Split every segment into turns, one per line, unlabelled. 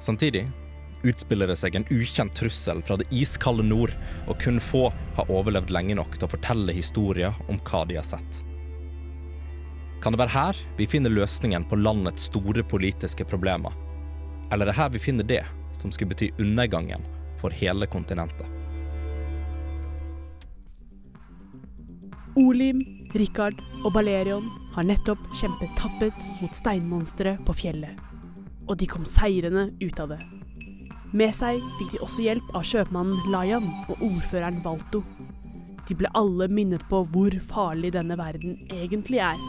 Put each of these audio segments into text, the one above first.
Samtidig utspiller det seg en ukjent trussel fra det iskalde nord, og kun få har overlevd lenge nok til å fortelle historier om hva de har sett. Kan det være her vi finner løsningen på landets store politiske problemer? Eller er det her vi finner det som skulle bety undergangen for hele kontinentet?
Olim, Rikard og Balerion har nettopp kjempet tappet mot steinmonsteret på fjellet. Og de kom seirende ut av det. Med seg fikk de også hjelp av kjøpmannen Layan og ordføreren Balto. De ble alle minnet på hvor farlig denne verden egentlig er.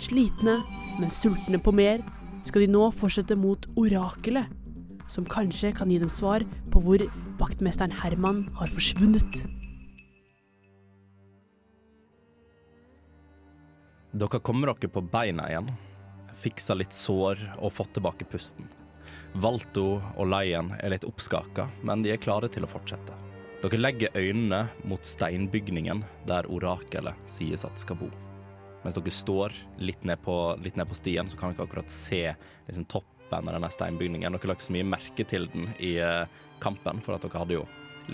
Slitne, men sultne på mer, skal de nå fortsette mot orakelet, som kanskje kan gi dem svar på hvor vaktmesteren Herman har forsvunnet.
Dere kommer dere på beina igjen. Fiksa litt sår og fått tilbake pusten. Valto og Leien er litt oppskaka, men de er klare til å fortsette. Dere legger øynene mot steinbygningen der orakelet sies at skal bo. Mens dere står litt ned på, litt ned på stien, så kan dere akkurat se liksom, toppen av denne steinbygningen. Dere la ikke så mye merke til den i eh, kampen, for at dere hadde jo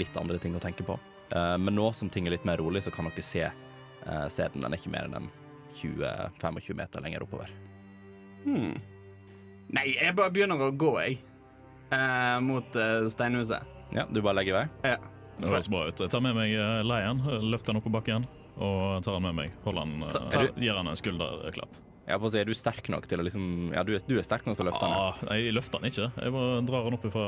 litt andre ting å tenke på. Eh, men nå som ting er litt mer rolig, så kan dere se, eh, se den. Den er ikke mer enn en 20-25 meter lenger oppover.
Hmm. Nei, jeg bare begynner å gå, jeg. Eh, mot eh, steinhuset.
Ja, du bare legger i vei.
Ja.
Det høres bra ut. Jeg tar med meg eh, leien, løfter den opp på bakken og tar den med meg. Holder den, eh,
Ta- ta-
Gir den en skulderklapp.
Jeg holdt på å si, er du sterk nok til å liksom Ja, du er, du er sterk nok til å løfte den. ja.
Ah, nei, jeg løfter den ikke. Jeg bare drar den opp fra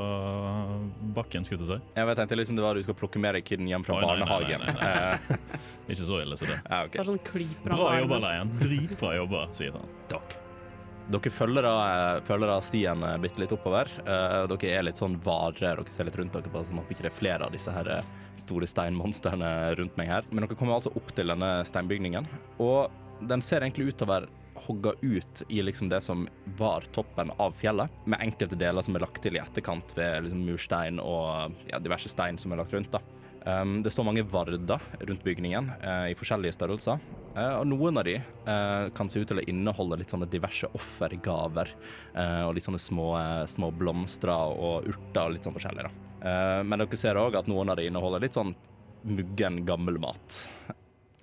bakken, skulle jeg til å si.
Jeg vet, tenkte liksom det var du skal plukke med deg kiden hjem fra
Oi, nei, nei,
barnehagen.
nei, nei, nei. Ikke så ille som det.
Ja,
Det
ok.
er sånn klyper
Bra jobba, Leien. Dritbra jobba, sier han.
Takk. Dere følger da, følger da stien eh, bitte litt oppover. Eh, dere er litt sånn vare, dere ser litt rundt dere på sånn at ikke det er flere av disse her eh, store steinmonstrene rundt meg her. Men dere kommer altså opp til denne steinbygningen, og den ser egentlig ut til å være hogga ut i liksom det som var toppen av fjellet, med enkelte deler som er lagt til i etterkant ved liksom murstein og ja, diverse stein som er lagt rundt. da. Um, det står mange varder rundt bygningen eh, i forskjellige størrelser. Eh, og noen av de eh, kan se ut til å inneholde litt sånne diverse offergaver. eh, og litt sånne små, eh, små blomster og urter og litt sånn forskjellig. da. Eh, men dere ser òg at noen av de inneholder litt sånn muggen gammel mat.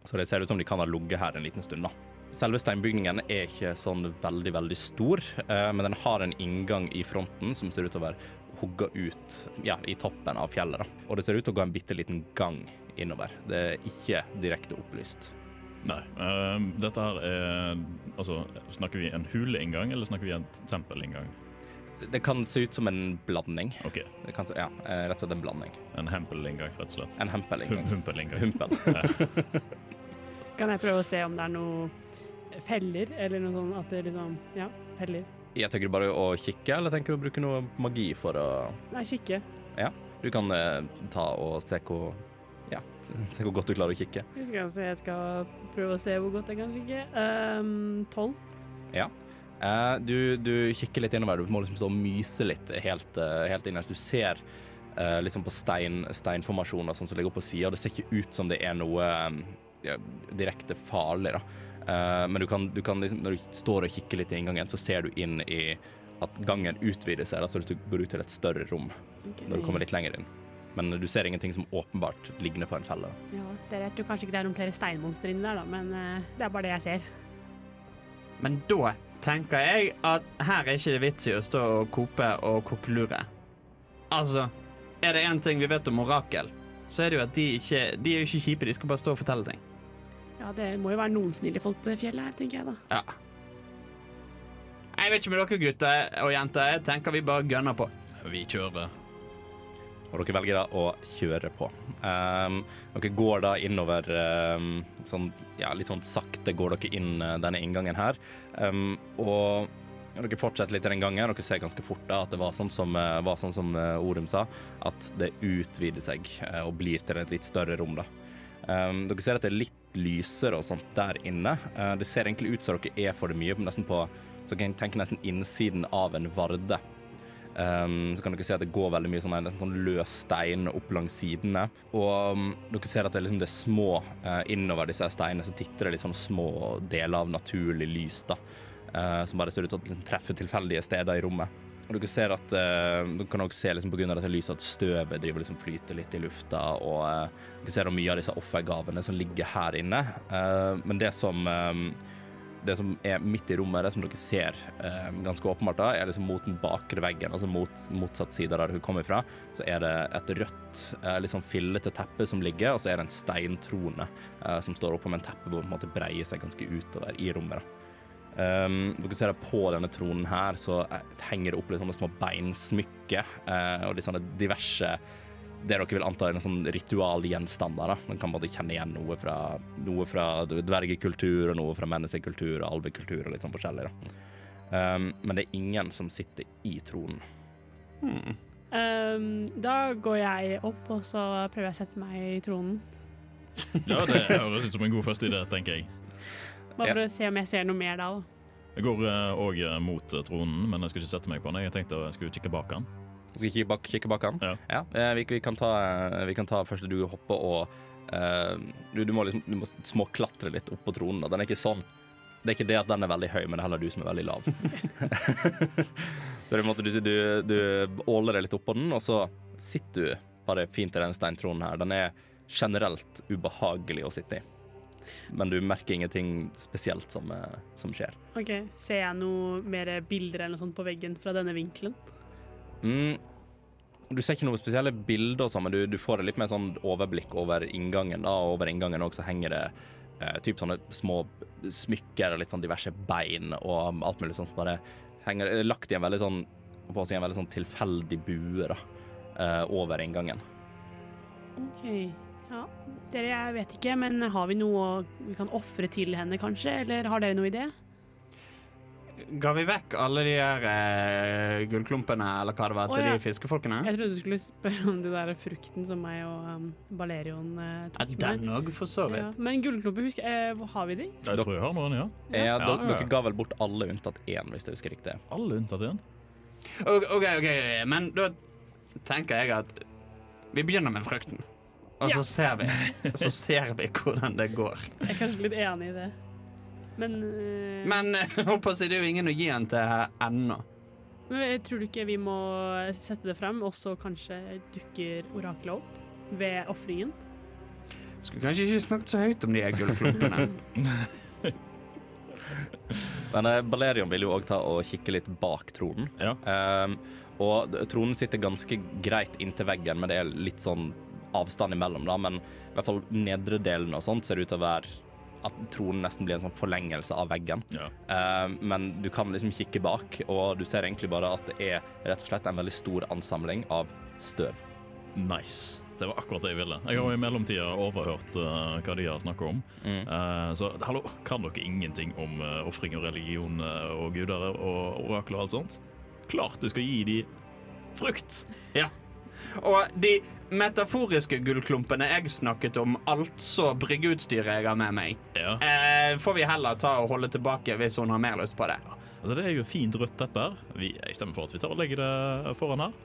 Så det ser ut som de kan ha ligget her en liten stund, da. Selve steinbygningen er ikke sånn veldig, veldig stor, eh, men den har en inngang i fronten som ser ut til å være hugga ut ja, i toppen av fjellet. Da. Og det ser ut til å gå en bitte liten gang innover. Det er ikke direkte opplyst.
Nei. eh, dette her er Altså, snakker vi en huleinngang, eller snakker vi en tempelinngang?
Det kan se ut som en blanding.
OK,
Det kan se, ja, eh, rett og slett en blanding.
en hempelinngang, rett og slett.
En hempelinngang.
Hum Humpelinngang.
Humpen.
Kan jeg prøve å se om det er noen feller, eller noe sånt at det liksom Ja, feller.
Jeg tenker bare å kikke, eller tenker du å bruke noe magi for å
Nei, kikke.
Du kan eh, ta og se hvor Ja, se hvor godt du klarer å kikke.
Jeg skal, se, jeg skal prøve å se hvor godt jeg kan kikke. Ehm, Tolv.
Eh, du, du kikker litt innover, du må liksom stå og myse litt helt, eh, helt innerst. Du ser eh, liksom på stein, steinformasjoner sånn som ligger på sida, og det ser ikke ut som det er noe eh, ja, direkte farlig. da. Eh, men du kan, du kan liksom, når du står og kikker litt i inngangen, så ser du inn i at gangen utvider seg, da, så du går ut til et større rom når du kommer litt lenger inn. Men du ser ingenting som åpenbart ligner på en felle. da.
Ja, det er rett. Du kanskje ikke det er noen flere steinmonstre inni der, da, men eh, det er bare det jeg ser.
Men da tenker jeg at her er ikke det vits i å stå og kope og kokkelure. Altså, er det én ting vi vet om orakel, så er det jo at de ikke De er jo ikke kjipe, de skal bare stå og fortelle ting.
Ja, det må jo være noen snille folk på det fjellet her, tenker jeg da.
Ja. Jeg vet ikke med dere gutter og jenter, jeg tenker vi bare gønner på.
Vi kjører.
Og dere velger da å kjøre på. Ehm, dere går da innover ehm, sånn, ja, litt sånn sakte går dere inn eh, denne inngangen her. Ehm, og Og dere fortsetter litt i den gangen. Dere ser ganske fort da at det var sånn som, eh, var sånn som eh, Orum sa, at det utvider seg eh, og blir til et litt større rom. da. Um, dere ser at det er litt lysere og sånt der inne. Eh, det ser egentlig ut som dere er for det mye, men nesten på, så kan jeg tenke nesten innsiden av en varde. Um, så kan dere se at det går veldig mye sånn, nesten sånn løs stein opp langs sidene. Og um, dere ser at det, er liksom, det er små eh, innover disse her steinene, så titter det litt sånn små deler av naturlig lys, da. eh, som bare ser ut til å liksom treffe tilfeldige steder i rommet. Og dere ser at eh, Dere kan også se liksom, på grunn av dette lyset at støvet driver liksom flyter litt i lufta, og eh, dere ser jo mye av disse offergavene som ligger her inne. Eh, men det som eh, det som er midt i rommet, det som dere ser eh, ganske åpenbart, da, er liksom mot den bakre veggen, altså mot motsatt side der hun kommer fra, så er det et rødt, eh, litt sånn fillete teppe som ligger, og så er det en steintrone eh, som står oppå med en teppe hvor den på en måte breier seg ganske utover i rommet. da. Um, dere ser at på denne tronen her så eh, henger det opp litt sånne små beinsmykker eh, og litt sånne diverse det dere vil anta er en sånn ritualgjenstander. da. Man kan både kjenne igjen noe fra, noe fra dvergekultur og noe fra menneskekultur og alvekultur og litt sånn forskjellig. da. Um, men det er ingen som sitter i tronen.
Ehm, da går jeg opp, og så prøver jeg å sette meg i tronen.
Ja, det høres ut som en god første idé, tenker jeg.
Bare
Ja.
for å se om jeg ser noe mer da. da.
Jeg går òg mot eh, tronen, men jeg skal ikke sette meg på den. Jeg tenkte jeg skulle kikke bak den.
Skal vi kikke bak, kikke bak han?
Ja.
eh, vi, vi, kan ta, eh, vi kan ta først du hopper og eh, du, du må liksom du må småklatre litt opp på tronen. da. Den er ikke sånn. Det er ikke det at den er veldig høy, men det er heller du som er veldig lav. så det er en måte du, du, du åler deg litt opp på den, og så sitter du bare fint i den steintronen her. Den er generelt ubehagelig å sitte i. Men du merker ingenting spesielt som, eh, som skjer.
Ok, Ser jeg noe mer bilder eller noe sånt på veggen fra denne vinkelen?
Mm. Du ser ikke noen spesielle bilder, og sånn, men du, du får et litt mer sånn overblikk over inngangen. da, og Over inngangen også henger det eh, typ sånne små smykker og litt sånn diverse bein og alt mulig sånt. som Bare henger, eh, lagt i en veldig sånn på å si en veldig sånn tilfeldig bue da, eh, over inngangen.
Ok, ja. Dere, jeg vet ikke, men har vi noe vi kan ofre til henne, kanskje? Eller har dere noe idé?
Ga vi vekk alle de der eh, gullklumpene, eller hva det var,
Å,
til
ja.
de fiskefolkene?
Jeg trodde du skulle spørre om de der frukten som meg og um, Balerion eh,
Ja,
tok med.
den òg, for så
Ja,
vidt.
men gullklumper, husk, eh, hvor har vi de?
Jeg tror jeg har noen, ja.
Eh,
Ja.
do-
Ja, ja.
Dere ga vel bort alle unntatt én, hvis jeg husker riktig.
Alle unntatt én.
Ok, ok, ok, men da tenker jeg at vi begynner med frukten. Og så ser vi Så ser vi hvordan det går.
Jeg er kanskje litt enig i det. Men, eh,
Men eh, holdt på å si, det er jo ingen å gi den til her ennå.
men jeg tror du ikke vi må eh, sette det frem, og så kanskje dukker oraklet opp ved ofringen?
Skulle kanskje ikke snakket så høyt om de her gullklumpene.
Men eh, Balerion vil jo òg ta og kikke litt bak tronen.
Ja.
Ehm, og d- tronen sitter ganske greit inntil veggen, men det er litt sånn avstand imellom, da. Men i hvert fall nedre delen og sånt ser ut til å være at tronen nesten blir en sånn forlengelse av veggen.
ja.
Ehm, men du kan liksom kikke bak, og du ser egentlig bare at det er rett og slett en veldig stor ansamling av støv.
Nice. Det var akkurat det jeg ville. Jeg har jo i mellomtida overhørt eh, hva de har snakka om. Eh, så hallo, kan dere ingenting om uh, ofring og religion eh, og guder og orakler og alt sånt? Klart du skal gi de frukt!
Ja. Og de metaforiske gullklumpene jeg snakket om, altså bryggeutstyret jeg har med meg,
Ja.
eh, får vi heller ta og holde tilbake hvis hun har mer lyst på det.
Altså, det er jo fint rødt teppe her. Vi, jeg stemmer for at vi tar og legger det foran her.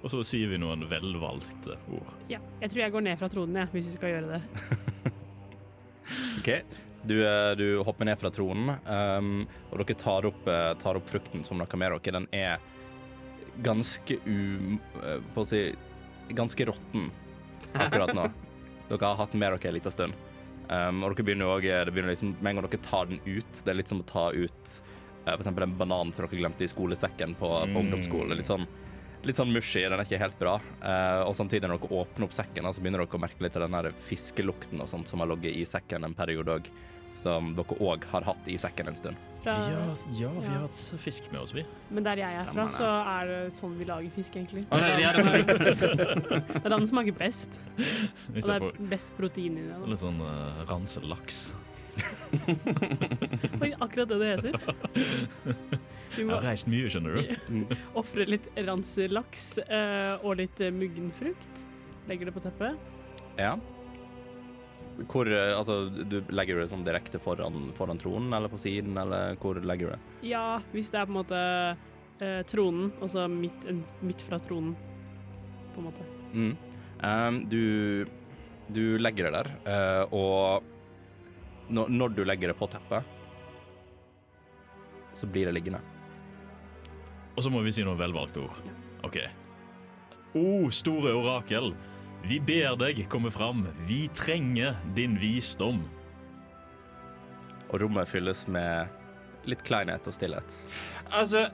Og så sier vi noen velvalgte ord.
Ja. Jeg tror jeg går ned fra tronen, jeg, hvis vi skal gjøre det.
OK. Du, eh, du hopper ned fra tronen, ehm, og dere tar opp, eh, tar opp frukten som dere har med dere. Den er ganske u... eh, på å si ganske råtten akkurat nå. Dere har hatt den med dere en liten stund. Ehm, og dere begynner jo også- det begynner liksom, Med en gang dere tar den ut, det er litt som å ta ut eh, for eksempel den bananen som dere glemte i skolesekken på, på ungdomsskolen. Litt sånn, litt sånn mushy, den er ikke helt bra. Eh, og samtidig når dere åpner opp sekken, da, så begynner dere å merke litt av den der fiskelukten og sånt som har ligget i sekken en periode òg, som dere òg har hatt i sekken en stund.
Fra,
ja,
vi har
hatt fisk med oss, vi.
men der jeg er fra,
Stemmer det.
så er det sånn vi lager fisk, egentlig.
Å, nei, vi hadde brukt
det er da den smaker best. Og det
Istedenfor
er best protein i det. da.
eh, litt sånn uh, ranselaks.
Oi, akkurat det det heter. Vi
Jeg
må
har reist mye, skjønner du.
ofre litt ranselaks eh, og litt eh, muggenfrukt. Legger det på teppet.
Ja. Hvor, eh, altså, du legger du det sånn direkte foran, foran tronen, eller på siden, eller hvor legger du det?
Ja, hvis det er på en måte eh, tronen, og så midt, en- midt fra tronen, på en måte.
Mm. Ehm, du, du legger det der, eh, og når, når du legger det på teppet, så blir det liggende.
Og så må vi si noen velvalgte ord. OK. O store orakel, vi ber deg komme fram. Vi trenger din visdom.
Og rommet fylles med litt kleinhet og stillhet.
Altså,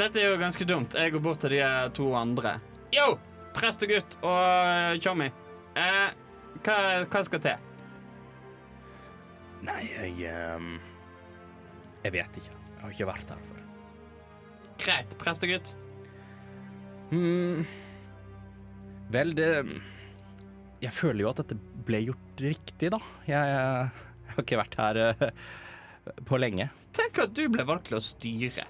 dette er jo ganske dumt. Jeg går bort til de eh, to andre. Yo, prestegutt og eh, tjommi. Eh, hva, hva skal til?
Nei, jeg ehm, Jeg vet ikke. Jeg har ikke vært her før.
Greit, prestegutt.
Hmm. Vel, det Jeg føler jo at dette ble gjort riktig, da. Jeg, jeg har ikke vært her eh, på lenge.
Tenk at du ble valgt til å styre.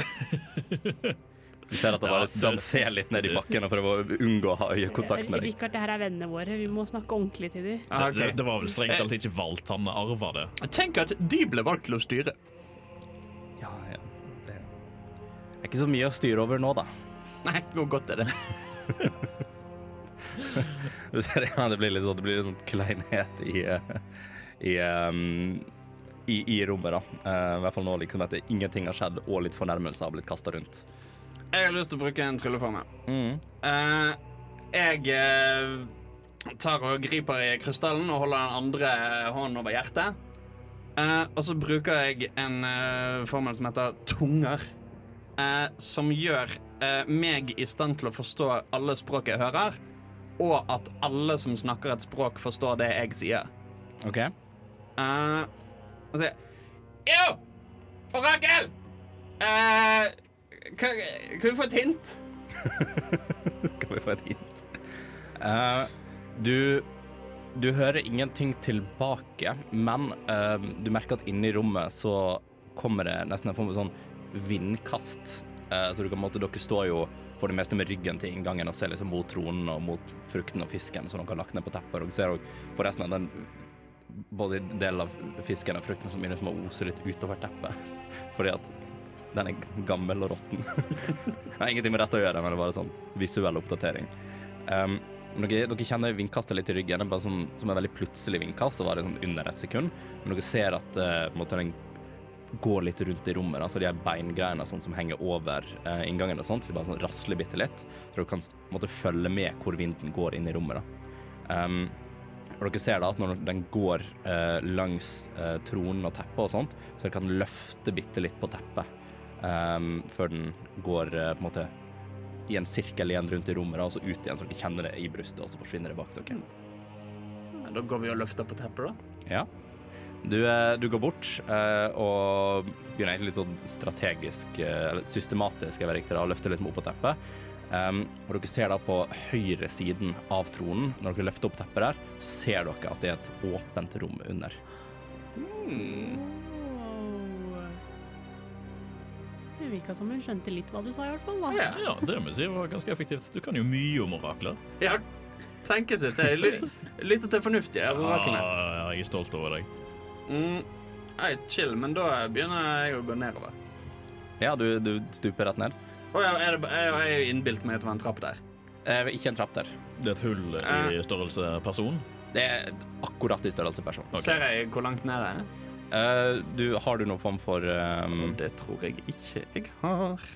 Du ser at han
Ja,
bare
det-
sånn ser litt ned i bakken og prøver å unngå å ha øyekontakt med deg.
Eh, Rikard, det her er vennene våre. Vi må snakke ordentlig til dem.
Ah,
Det,
ok. Eh.
det var vel strengt talt ikke valgt, han arva det.
Tenk at de ble valgt til å styre.
Ja, ja. Det er ikke så mye å styre over nå, da.
Nei, hvor godt er det?
Du ser, ja, det blir litt sånn, det blir litt sånn kleinhet i, eh, i, ehm, i, i rommet, da. Eh, I hvert fall nå, liksom, etter ingenting har skjedd, og litt fornærmelser har blitt kasta rundt.
Jeg har lyst til å bruke en trylleformel.
Mm,
Eh, jeg eh, tar og griper i krystallen og holder den andre hånden over hjertet. Eh, og så bruker jeg en eh, formel som heter tunger, eh, som gjør eh, meg i stand til å forstå alle språk jeg hører, og at alle som snakker et språk, forstår det jeg sier.
OK?
Eh, og så sier jeg Yo! Orakel! Eh, kan, kan vi få et hint?
Skal vi få et hint? Eh, du Du hører ingenting tilbake, men eh, du merker at inne i rommet så kommer det nesten en form for sånn vindkast. Eh, så du kan på en måte Dere står jo for det meste med ryggen til inngangen og ser liksom mot tronen og mot frukten og fisken som dere har lagt ned på teppet. Og dere ser også på resten av den både delen av fisken og frukten som begynner som å ose litt utover teppet. Fordi at den er gammel og råtten. Det har ingenting med dette å gjøre, men det er bare sånn visuell oppdatering. Um, men dere, dere kjenner vindkastet litt i ryggen, det er bare som, som en veldig plutselig vindkast, og var det sånn under et sekund. Men dere ser at eh, på en måte, den går litt rundt i rommet, altså de her beingreiene sånn, som henger over eh, inngangen og sånt, så de bare sånn rasler bitte litt, så dere kan s- på en måte, følge med hvor vinden går inn i rommet. Da. Um, og dere ser da at når den går eh, langs eh, tronen og teppet og sånt, så dere kan løfte bitte litt på teppet ehm, før den går eh, på en måte i en sirkel igjen rundt i rommet, da, og så ut igjen, så dere kjenner det i brystet, og så forsvinner det bak dere.
Ja, Da går vi og løfter på teppet, da.
Ja. Du, eh, du går bort eh, og begynner egentlig litt sånn strategisk, eh, eller systematisk, jeg vet riktig, da, og løfter liksom opp på teppet. Ehm, og dere ser da på høyre siden av tronen, når dere løfter opp teppet der, så ser dere at det er et åpent rom under.
Hmm.
Wow. Det virka som hun skjønte litt hva du sa, i hvert fall. da.
Ja.
Ja, det må jeg si var ganske effektivt. Du kan jo mye om orakler.
Ja, tenke seg til. Ly- Lytte til fornuftige oraklene.
Ah, jeg er stolt over deg.
Mm. Nei, chill, men da begynner jeg å gå nedover.
Ja, du, du stuper rett ned.
Å ja, er det, ba- jeg har jo innbilt meg at det var en trapp der.
Eh, ikke en trapp der.
Det er et hull
Eh.
i størrelse person.
Det er akkurat i størrelse person.
Ser jeg hvor langt ned det er?
Eh, du, har du noen form for ehm,
Det tror jeg ikke jeg har.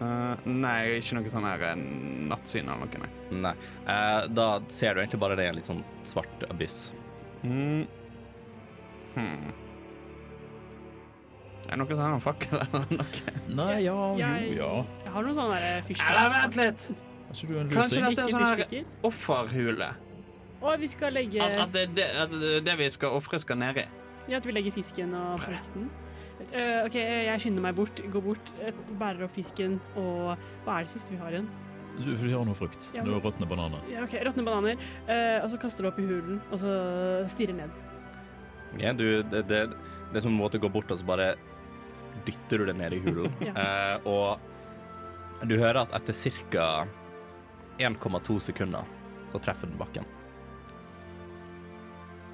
Eh, nei, ikke noe sånn her eh, nattsyn eller noe, nei.
Nei. Eh, da ser du egentlig bare det i en litt sånn svart abyss.
Mm. Hmm. Er det noen som har en fakkel eller noe?
Nei, ja,
Jeg-
jo, ja.
Jeg har noen sånne der
Eller
fyrstikker.
vent litt!
Kanskje du er en
Kanskje
luting?
dette er sånn her
fyrstikker.
offerhule.
Å, vi skal legge
At, at, det, det, at det, det vi skal ofre, skal ned i.
Ja, at vi legger fisken og frukten. Eh, OK, jeg skynder meg bort, går bort, eh, bærer opp fisken og Hva er det siste vi har igjen?
Du, du har noe frukt.
Ja,
Du
men-
har råtne bananer.
Ja, ok, Råtne bananer. eh, og så kaster du opp i hulen, og så stirrer ned.
Ja, du, det, det, det er som en måte å gå bort og så bare dytter du det ned i hulen. Eh, og du hører at etter ca. 1,2 sekunder så treffer den bakken.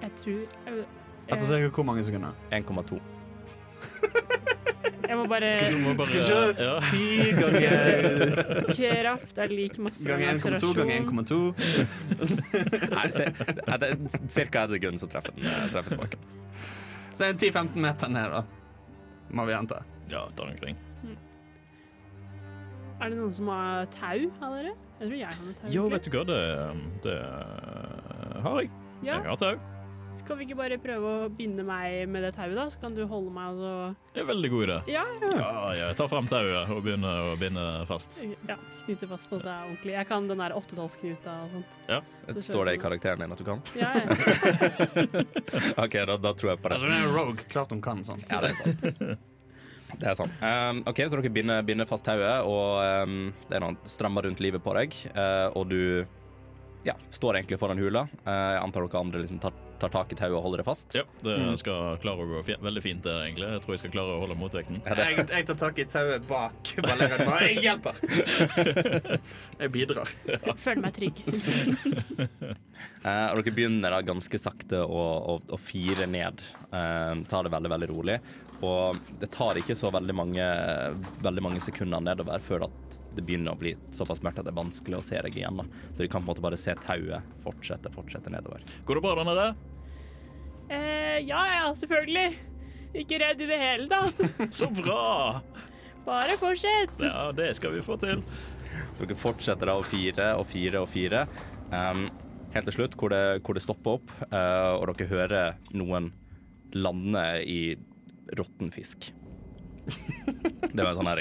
Jeg tror jeg,
Etter
jeg,
cirka hvor mange sekunder?
1,2.
jeg må bare
Så må bare,
Skal ikke-
ja.
Ti ganger
Kraft er lik masse
Ganger 1,2 ganger 1,2.
Nei, se, etter ca. ett sekund så treffer den, eh, treffer den bakken.
Så er det 10-15 meter ned, da. Må vi anta.
ja, der omkring.
Er det noen som har tau av dere? Jeg tror jeg har noe tau.
Jo,
egentlig.
vet du hva, det, um, det eh, har jeg.
ja.
Jeg har tau.
Skal vi ikke bare prøve å binde meg med det tauet, da? Så kan du holde meg og så
Det er en veldig god idé.
Ja,
Ja, jeg tar fram tauet og begynner å binde fast.
ja knytte fast sånn at det er ordentlig. Jeg kan den der åttetallsknuta og sånt.
Står det i karakteren din at du kan?
Ja, ja.
OK, da, da tror jeg på det.
Altså, hun er rogue. Klart hun kan sånt.
Ja, det er sant. Det er sant. Ehm, OK, så dere binder, binder fast hodet, og ehm, det er noen strammer rundt livet på deg, eh, og du ja, står egentlig foran hula. Eh, jeg antar dere andre liksom tar, tar tak i tauet og holder det fast.
Ja, det skal klare å gå fi- veldig fint, det, egentlig. Jeg tror jeg skal klare å holde motvekten.
Jeg, jeg tar tak i tauet bak Valerian. Bare, Jeg hjelper! Jeg bidrar.
Føler meg trygg.
Eh, og dere begynner da ganske sakte å, å, å fire ned. Eh, tar det veldig, veldig rolig. Og det tar ikke så veldig mange, veldig mange sekunder nedover før at det begynner å bli såpass mørkt at det er vanskelig å se deg igjen. Da. Så de kan på en måte bare se tauet fortsette, fortsette nedover.
Går det bra der nede?
Eh, ja, ja, selvfølgelig. Ikke redd i det hele tatt.
Så bra!
Bare fortsett.
Ja, det skal vi få til.
Så dere fortsetter da å fire og fire og fire. Ehm, helt til slutt, hvor det, hvor det stopper opp, eh, og dere hører noen lande i råtten fisk. Det var sånn her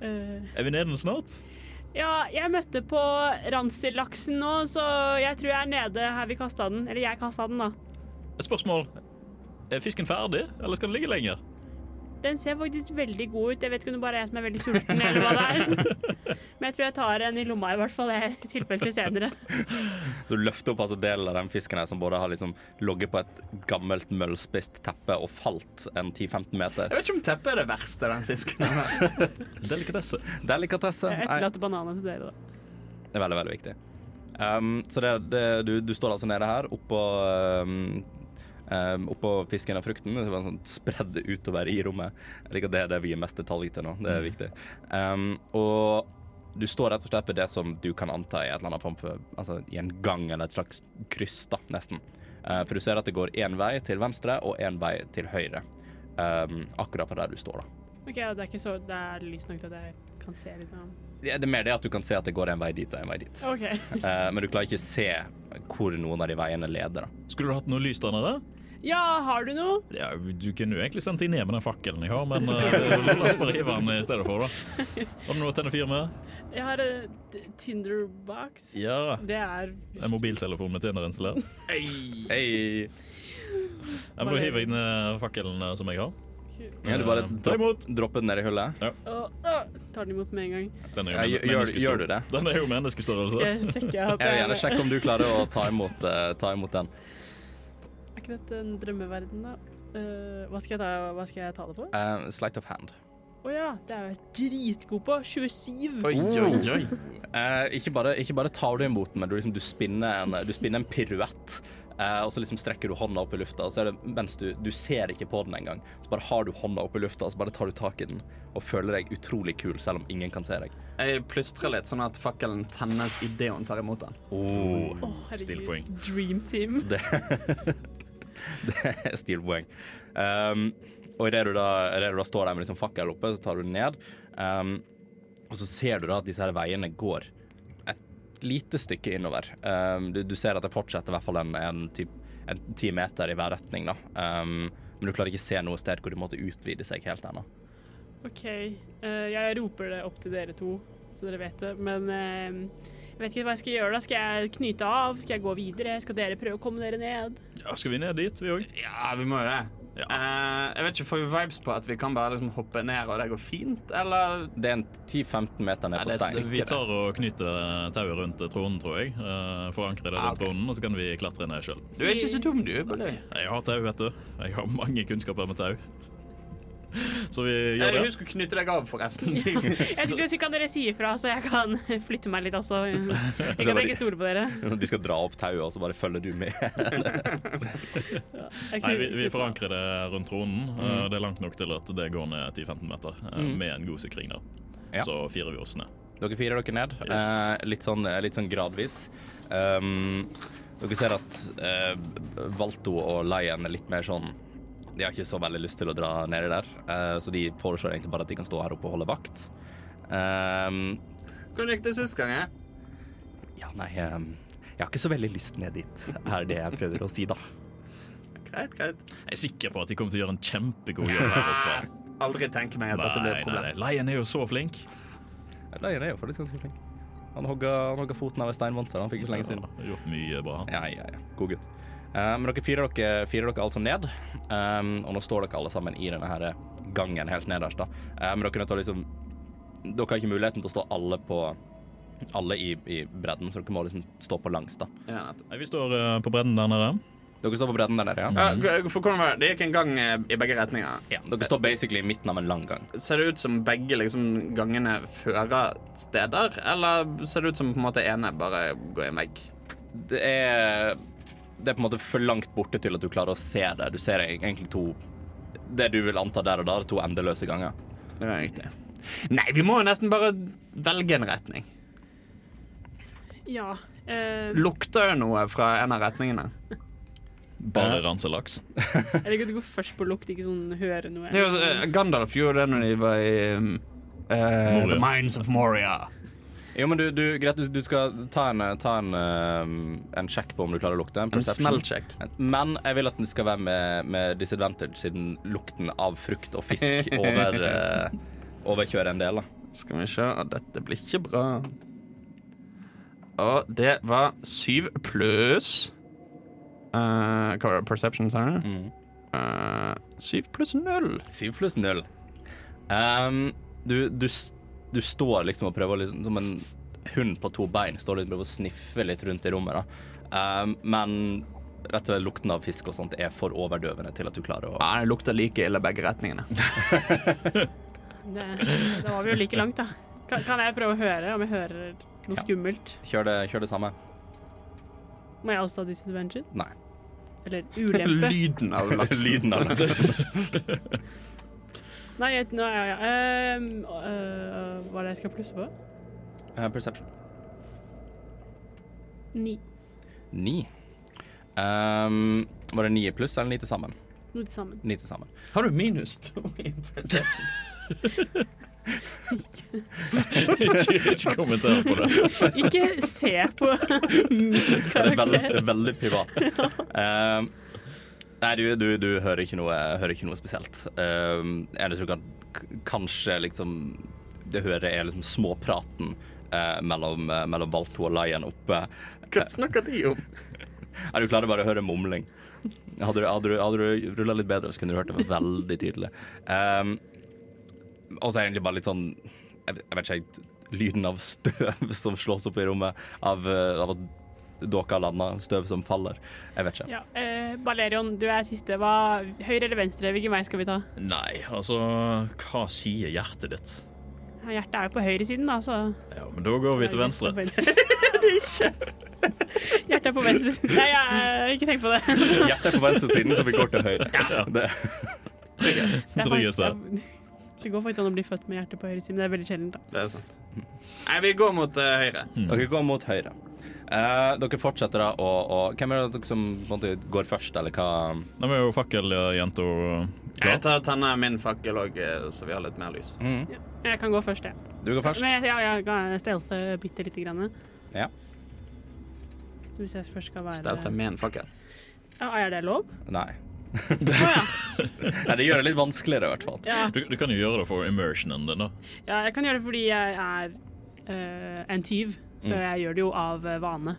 Eh,
Er vi nede nå snart?
ja, jeg møtte på ransellaksen nå, så jeg tror jeg er nede her vi kasta den. Eller jeg kasta den, da.
Et spørsmål. Er fisken ferdig, eller skal den ligge lenger?
Den ser faktisk veldig god ut. Jeg vet ikke om det bare er jeg som er veldig sulten, eller hva det er. Men jeg tror jeg tar en i lomma, i hvert fall, jeg, i tilfelle til senere.
Du løfter opp altså delen av den fisken her som både har liksom ligget på et gammelt møllspist teppe og falt en 10-15 meter.
Jeg vet ikke om teppet er det verste den fisken har vært.
Delikatesse.
Delikatesse.
Jeg
Nei,
etterlater bananene til dere, da.
Det er veldig, veldig viktig. Um, så det, det, du, du står altså nede her, oppå um, um, Oppå fisken og frukten. Det var sånn Spredd utover i rommet. Jeg liker at det er det vi gir mest detalj til nå. Det er viktig. Um, og du står rett og slett ved det som du kan anta er et eller annet form for Altså i en gang eller et slags kryss, da, nesten. Uh, for du ser at det går én vei til venstre og én vei til høyre. Um, akkurat fra der du står, da.
OK, og det er ikke så Det er lyst nok til at jeg kan se, liksom.
Det det er mer det at du kan se at det går en vei dit og en vei dit.
OK.
Eh, men du klarer ikke se hvor noen av de veiene leder. Da.
Skulle du hatt noe lys der nede?
Ja, har du noe?
Ja, du kunne jo egentlig sendt deg ned med den fakkelen jeg har, men uh, la oss bare hive den i stedet for, da. Har du noe å tenne fyr med?
Jeg har en t- Tinderbox.
Ja.
Det er
En mobiltelefon med Tinder installert.
Hei.
Ja, men da hiver jeg ned fakkelen eh, som jeg har.
Ja, du bare
Eh, ta
dropp,
imot!
dropper den ned i hullet.
Å, å, Tar den imot med en gang.
Den er
Ja,
jo
gjør- gjør-
menneskestor-
gjør du det?
Den er jo menneskestørrelse.
Skal jeg sjekke at
Jeg vil gjerne sjekke om du klarer å ta imot, eh, ta imot den.
Er ikke dette en drømmeverden, da? Eh, hva, skal jeg ta, hva skal jeg ta det for?
Uh, sleight of hand.
Å ja, det er jeg dritgod på. 27.
Oi, oi, oi.
Eh, ikke, bare, ikke bare tar du imot den, men du, liksom, du, spinner en, du spinner en piruett. eh, og så liksom strekker du hånda opp i lufta, og så er det mens du, du ser ikke på den engang. Så bare har du hånda opp i lufta, og så bare tar du tak i den og føler deg utrolig kul, selv om ingen kan se deg.
Jeg plystrer litt, sånn at fakkelen tennes idet hun tar imot den.
Oh.
Å, herregud.
Stilpoeng.
Dream team.
Det, det er stilpoeng. Um, og idet du, da- i det du da står der med liksom fakkel oppe, så tar du den ned. Um, og så ser du da at disse her veiene går et lite stykke innover. Um, du, du ser at det fortsetter i hvert fall en, en, typ, en ti meter i hver retning, da. Um, men du klarer ikke se noe sted hvor de måtte utvide seg helt ennå.
OK. eh, jeg roper det opp til dere to, så dere vet det. Men eh, jeg vet ikke hva jeg skal gjøre da. Skal jeg knyte av? Skal jeg gå videre? Skal dere prøve å komme dere ned?
Ja, skal vi ned dit, vi òg?
Ja, vi må jo det.
Ja.
Eh, jeg vet ikke, Får vi vibes på at vi kan bare liksom hoppe ned, og det går fint? Eller
Det er en 10-15 meter ned
Ja,
på
det er et
stein.
Vi tar og knytter eh, tauet rundt tronen, tror jeg. eh, Forankrer det
Ah,
rundt
ok.
tronen, og så kan vi klatre ned sjøl.
Du er ikke så dum, du. Baloo.
Jeg har tau, vet du. Jeg har mange kunnskaper med tau. Så vi gjør
Jeg
det.
husker å Eh, knytte deg av, forresten.
Jeg skulle si, kan dere si ifra, så jeg kan flytte meg litt også. Jeg kan ikke stole på dere.
De skal dra opp tauet, og så bare følger du med.
Jeg
Nei, vi, vi
knytter-
forankrer det rundt tronen.
Mm.
eh, Det er langt nok til at det går ned 10-15 meter, eh,
Mm.
med en god sikring der.
Ja.
Så firer vi oss ned.
Dere firer dere ned,
Yes.
eh, litt, sånn, eh, litt sånn gradvis. Um, dere ser at eh, Valto og Lion er litt mer sånn De har ikke så veldig lyst til å dra nedi der, eh, så de foreslår egentlig bare at de kan stå her oppe og holde vakt. Um,
Hvordan gikk det sist gang? jeg?
ja, nei um, Jeg har ikke så veldig lyst ned dit, er det jeg prøver å si, da.
Greit, greit. Ah,
Jeg er sikker på at de kommer til å gjøre en kjempegod jobb her oppe.
Aldri tenke meg at dette blir
Nei,
et
nei,
problem.
nei. Lion er jo så flink.
Lion er jo faktisk ganske flink. Han hogga, han hogga foten av et steinmonster han fikk ikke så lenge siden.
Ja, gjort mye bra. han.
Ja, ja, ja. God gutt. Eh, men dere firer dere, firer dere altså ned, Ehm, og nå står dere alle sammen i denne her gangen helt nederst. da. Eh, men dere er nødt til å liksom Dere har ikke muligheten til å stå alle på alle i, i bredden, så dere må liksom stå på langs, da.
Ja, nettopp.
Nei, Vi står eh, på bredden der nede.
Dere står på bredden der nede,
Mhm.
ja?
Ja, g- for hvordan var det? det gikk en gang eh, i begge retninger.
ja. Dere står basically i midten av en lang gang.
Ser det ut som begge liksom, gangene fører steder, eller ser det ut som på en måte ene bare går i en vegg?
Det er Det er på en måte for langt borte til at du klarer å se det. Du ser egentlig to Det du vil anta der og da, to endeløse ganger.
Det er riktig. Nei, vi må jo nesten bare velge en retning.
Ja. eh,
Lukter jo noe fra en av retningene.
Bare ranselaks.
eller kan du gå først på lukt, ikke sånn høre noe?
Det er jo, eh, Gandalf gjorde det når de var i um, eh,
Moria.
The Mines of Moria.
Jo, men du, du greit, du, du skal ta en, ta en, eh, en sjekk på om du klarer å lukte. En
En
perception.
smellcheck.
Men jeg vil at den skal være med, med disadvantage, siden lukten av frukt og fisk over, eh, overkjører en del. da.
Skal vi se. Å, Dette blir ikke bra. Og det var syv pluss eh, Hva var det? Perception, sa du? Eh, Syv pluss null.
Syv pluss null. Ehm, du, du, s- du står liksom og prøver å liksom, som en hund på to bein, står liksom og prøver å sniffe litt rundt i rommet. da. Ehm, men rett og slett lukten av fisk og sånt er for overdøvende til at du klarer å
Ja, det lukter like ille begge retningene.
Det, da var vi jo like langt, da. Kan, kan jeg prøve å høre om jeg hører noe
Ja.
skummelt?
Kjør det, kjør det samme.
Må jeg også ta disadvantage?
Nei.
Eller ulempe?
Lyden av laksen.
Lyden av laksen.
Nei, jeg, nå, ja, ja. Um, øh, hva er det jeg skal plusse på?
Eh, perception.
Ni.
Ni. Ehm, var det ni pluss eller ni til sammen?
Noe til sammen.
Ni til sammen.
Har du minus to i perception?
ikke, ikke kommenter på det.
Ikke se på min karakter.
Veldig, veldig privat. Ehm, nei, du, du, du hører, ikke noe, hører ikke noe spesielt. Um, eneste du kan k- kanskje liksom Det hører er liksom småpraten eh, mellom, eh, mellom Valto og Lion oppe.
Hva snakker de om?
Nei, du klarer bare å høre mumling. Hadde du, hadde du, hadde du rulla litt bedre, så kunne du hørt det veldig tydelig. Ehm, og så er det egentlig bare litt sånn Jeg, jeg vet ikke, helt, lyden av støv som slås opp i rommet. Av, eh, av at dåka lander, støv som faller. Jeg vet ikke.
Ja, eh, Balerion, du er siste. Hva, høyre eller venstre? Hvilken vei skal vi ta?
Nei, altså Hva sier hjertet ditt?
Ja, Hjertet er jo på høyresiden, da, så
Ja, men Da går vi til venstre.
Hjertet er på venstre side. Nei, jeg har ikke tenkt på det.
Hjertet er på venstresiden, så vi går til høyre. Det,
Det er
Tryggest der.
faktisk- Det går faktisk an å bli født med hjertet på høyre side, men det er veldig sjeldent. da.
Det er sant. Nei, vi går mot eh, høyre.
dere går mot høyre. Eh, dere fortsetter da å å- Hvem er det dere som på en måte, går først, eller hva?
Da var jo fakkeljenta
Jeg
klar.
tar tenner min fakkel òg, så vi har litt mer lys.
Ja. Jeg kan gå først, jeg.
Du går først.
Men jeg, ja, jeg kan stelte bitte lite grann.
Ja.
Hvis jeg først skal være
Stealth er min fakkel.
Ja, Er det lov?
Nei.
Å ja.
Nei. Det gjør det litt vanskeligere, i hvert fall.
ja.
Du, du kan jo gjøre det for immersionen din, da.
Ja,
Mm.
jeg kan gjøre det fordi jeg er eh, en tyv. Så jeg gjør det jo av eh, vane.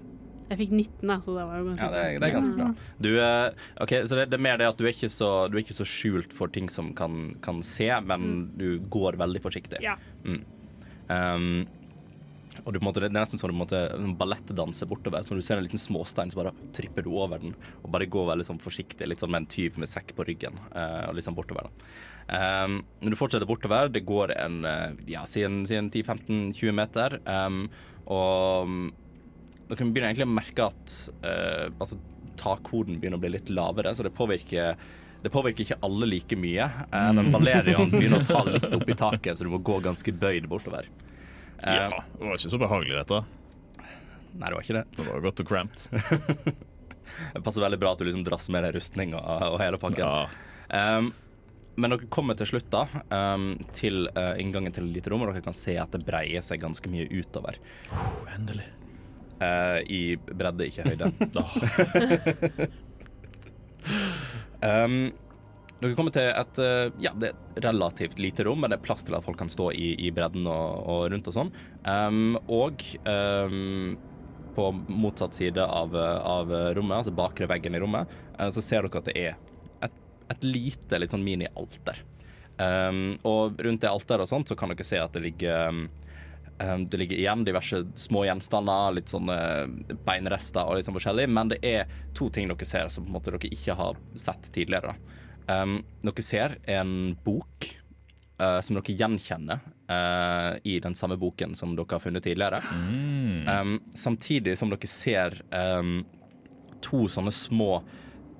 Jeg fikk 19, da, så det var jo ganske Mm.
Ja, det er, det er ganske bra. Du, eh, ok, så det, det er mer det at du er ikke så, du er ikke så skjult for ting som kan, kan se, men du går veldig forsiktig.
Ja.
Mm. Um, og du, på en måte, det er nesten sånn du på en måte, en ballettdanser bortover. Så når du ser en liten småstein, så bare tripper du over den. Og bare går veldig sånn forsiktig, litt sånn med en tyv med sekk på ryggen. eh, og litt sånn bortover, da. Um, når du fortsetter bortover, det går en, eh, ja, si en, si en 10-15-20 meter. Um, og dere begynner egentlig å merke at eh, altså, takkoden begynner å bli litt lavere, så det påvirker, det påvirker ikke alle like mye. Eh, men Valerian begynner å ta litt opp i taket, så du må gå ganske bøyd bortover. Eh,
Ja, det var ikke så behagelig, dette.
Nei, det var ikke det.
Det var godt og cramped.
Det passer veldig bra at du liksom drasser med deg rustning og, og hele pakken.
Ja.
Um, men dere kommer til slutt da, um, til eh, inngangen til et lite rom, og dere kan se at det breier seg ganske mye utover.
Oh, endelig.
eh, I bredde, ikke høyde.
Åh,
Um, dere kommer til et eh, ja, det er et relativt lite rom, men det er plass til at folk kan stå i, i bredden og, og rundt og sånn. Um, og um, på motsatt side av, eh, av rommet, altså bakre veggen i rommet, eh, så ser dere at det er et, et lite litt sånn mini-alter. Um, og rundt det alteret og sånt så kan dere se at det ligger um, Um, Det ligger igjen diverse små gjenstander, litt sånne eh, beinrester og litt sånn forskjellig, men det er to ting dere ser som på en måte dere ikke har sett tidligere. da. Um, dere ser en bok eh, som dere gjenkjenner eh, i den samme boken som dere har funnet tidligere. Um, samtidig som dere ser um, to sånne små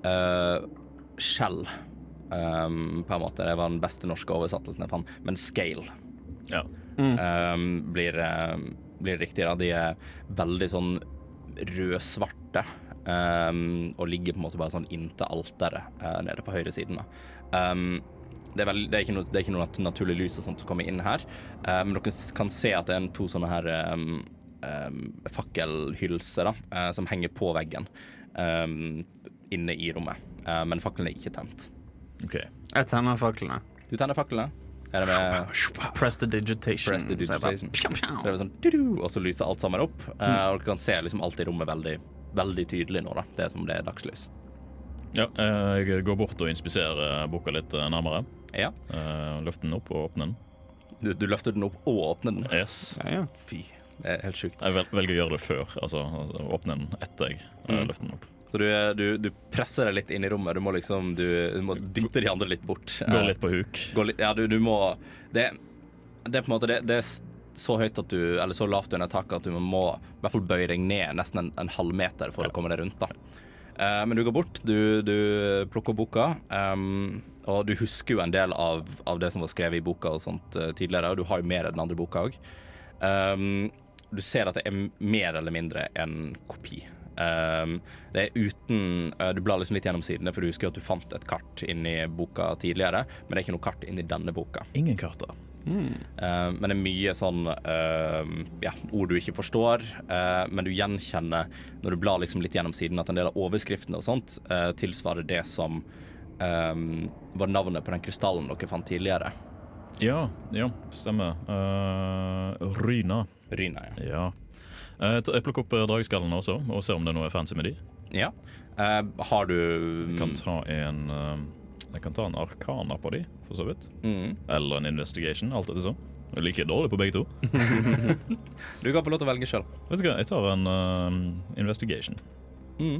eh, skjell, um, på en måte. Det var den beste norske oversettelsen jeg fant, men scale
ja.
um, blir, um, blir riktig. Da. De er veldig sånn rød-svarte um, og ligger på en måte bare sånn inntil alteret eh, nede på høyre siden. Da. Um, det, er vel- det, er ikke noe, det er ikke noe nat- naturlig lys og sånt som kommer inn her, Eh, men dere s- kan se at det er en, to sånne her um, um, fakkelhylser da, eh, som henger på veggen um, inne i rommet. Eh, men fakkelen er ikke tent.
OK.
Jeg tenner faklene.
Du tenner faklene. Er det med
Press the digitation.
Press the
så jeg bare-
digitation.
Pjau,
Så
pjau.
det er sånn, du-du, og så lyser alt sammen opp. Eh, og du kan se liksom alt i rommet veldig, veldig tydelig nå. da. Det er som det er dagslys.
Ja, eh, jeg går bort og inspiserer boka litt eh, nærmere.
Ja.
Eh, Løfter den opp og åpner den.
Du, du løfter den opp og åpner den.
Yes.
Ja, ja.
Fy, det er helt sjukt.
Jeg vel, velger å gjøre det før. Altså, altså åpne den etter jeg eh,
Mm.
løfter den opp.
Så du, du, du presser deg litt inn i rommet. Du må liksom du, du må dytte de andre litt bort. Eh,
Går litt på huk.
gå litt Ja, du, du må det, det er på en måte det, det er s- så høyt at du Eller så lavt under taket at du må i hvert fall bøye deg ned nesten en, en halv meter for å komme deg rundt, da. Eh, men du går bort, du, du plukker opp boka, ehm, og du husker jo en del av, av det som var skrevet i boka og sånt eh, tidligere, og du har jo mer av den andre boka òg. du ser at det er mer eller mindre en kopi. Ehm, det er uten eh, Du blar liksom litt gjennom sidene, for du husker jo at du fant et kart inni boka tidligere, men det er ikke noe kart inni denne boka.
Ingen karter.
Eh, men det er mye sånn eh, ja, ord du ikke forstår, eh, men du gjenkjenner når du blar liksom litt gjennom siden at en del av overskriftene og sånt eh, tilsvarer det som eh, var navnet på den krystallen dere fant tidligere.
Ja, ja, stemmer. Eh, Ryna.
Ryna, ja.
Ja. Eh, t- jeg plukker opp eh, drageskallene også og ser om det er noe fancy med de.
ja. Eh, har du
Jeg
Mm.
kan ta en eh, Jeg kan ta en arkana på de, for så vidt.
Mm.
Eller en investigation, alt etter sånn. Jeg er like dårlig på begge to.
Du kan få lov til å velge sjøl.
Vet du hva, jeg tar en eh, investigation.
Mm.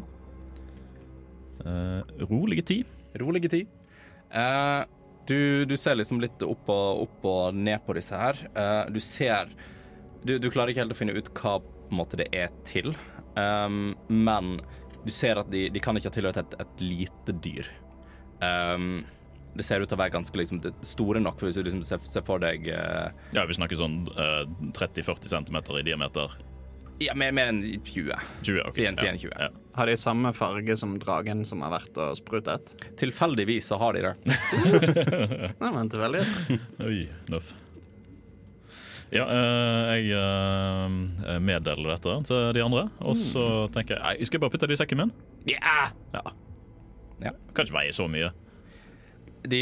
Eh, rolige ti.
Rolige tid. Eh, du, du ser liksom litt opp og, opp og ned på disse her. Eh, du ser du, du klarer ikke helt å finne ut hva på en måte det er til, Ehm, men du ser at de, de kan ikke ha tilhørt et, et lite dyr. Ehm, det ser ut til å være ganske liksom, det- store nok, for hvis du liksom ser, ser for deg eh,
Ja, vi snakker sånn eh, 30-40 cm i diameter.
ja, mer, mer enn 20.
20, ok.
Si en- si en
Ja,
20.
Ja.
Har de samme farge som dragen som har vært og sprutet?
Tilfeldigvis så har de det.
Nei, men tilfeldig.
Oi, nøff. Ja, eh, jeg eh, meddeler dette til de andre, og så tenker jeg Nei, skal jeg bare putte det i sekken min?
Ja!
Ja.
Ja.
Kan ikke veie så mye.
De,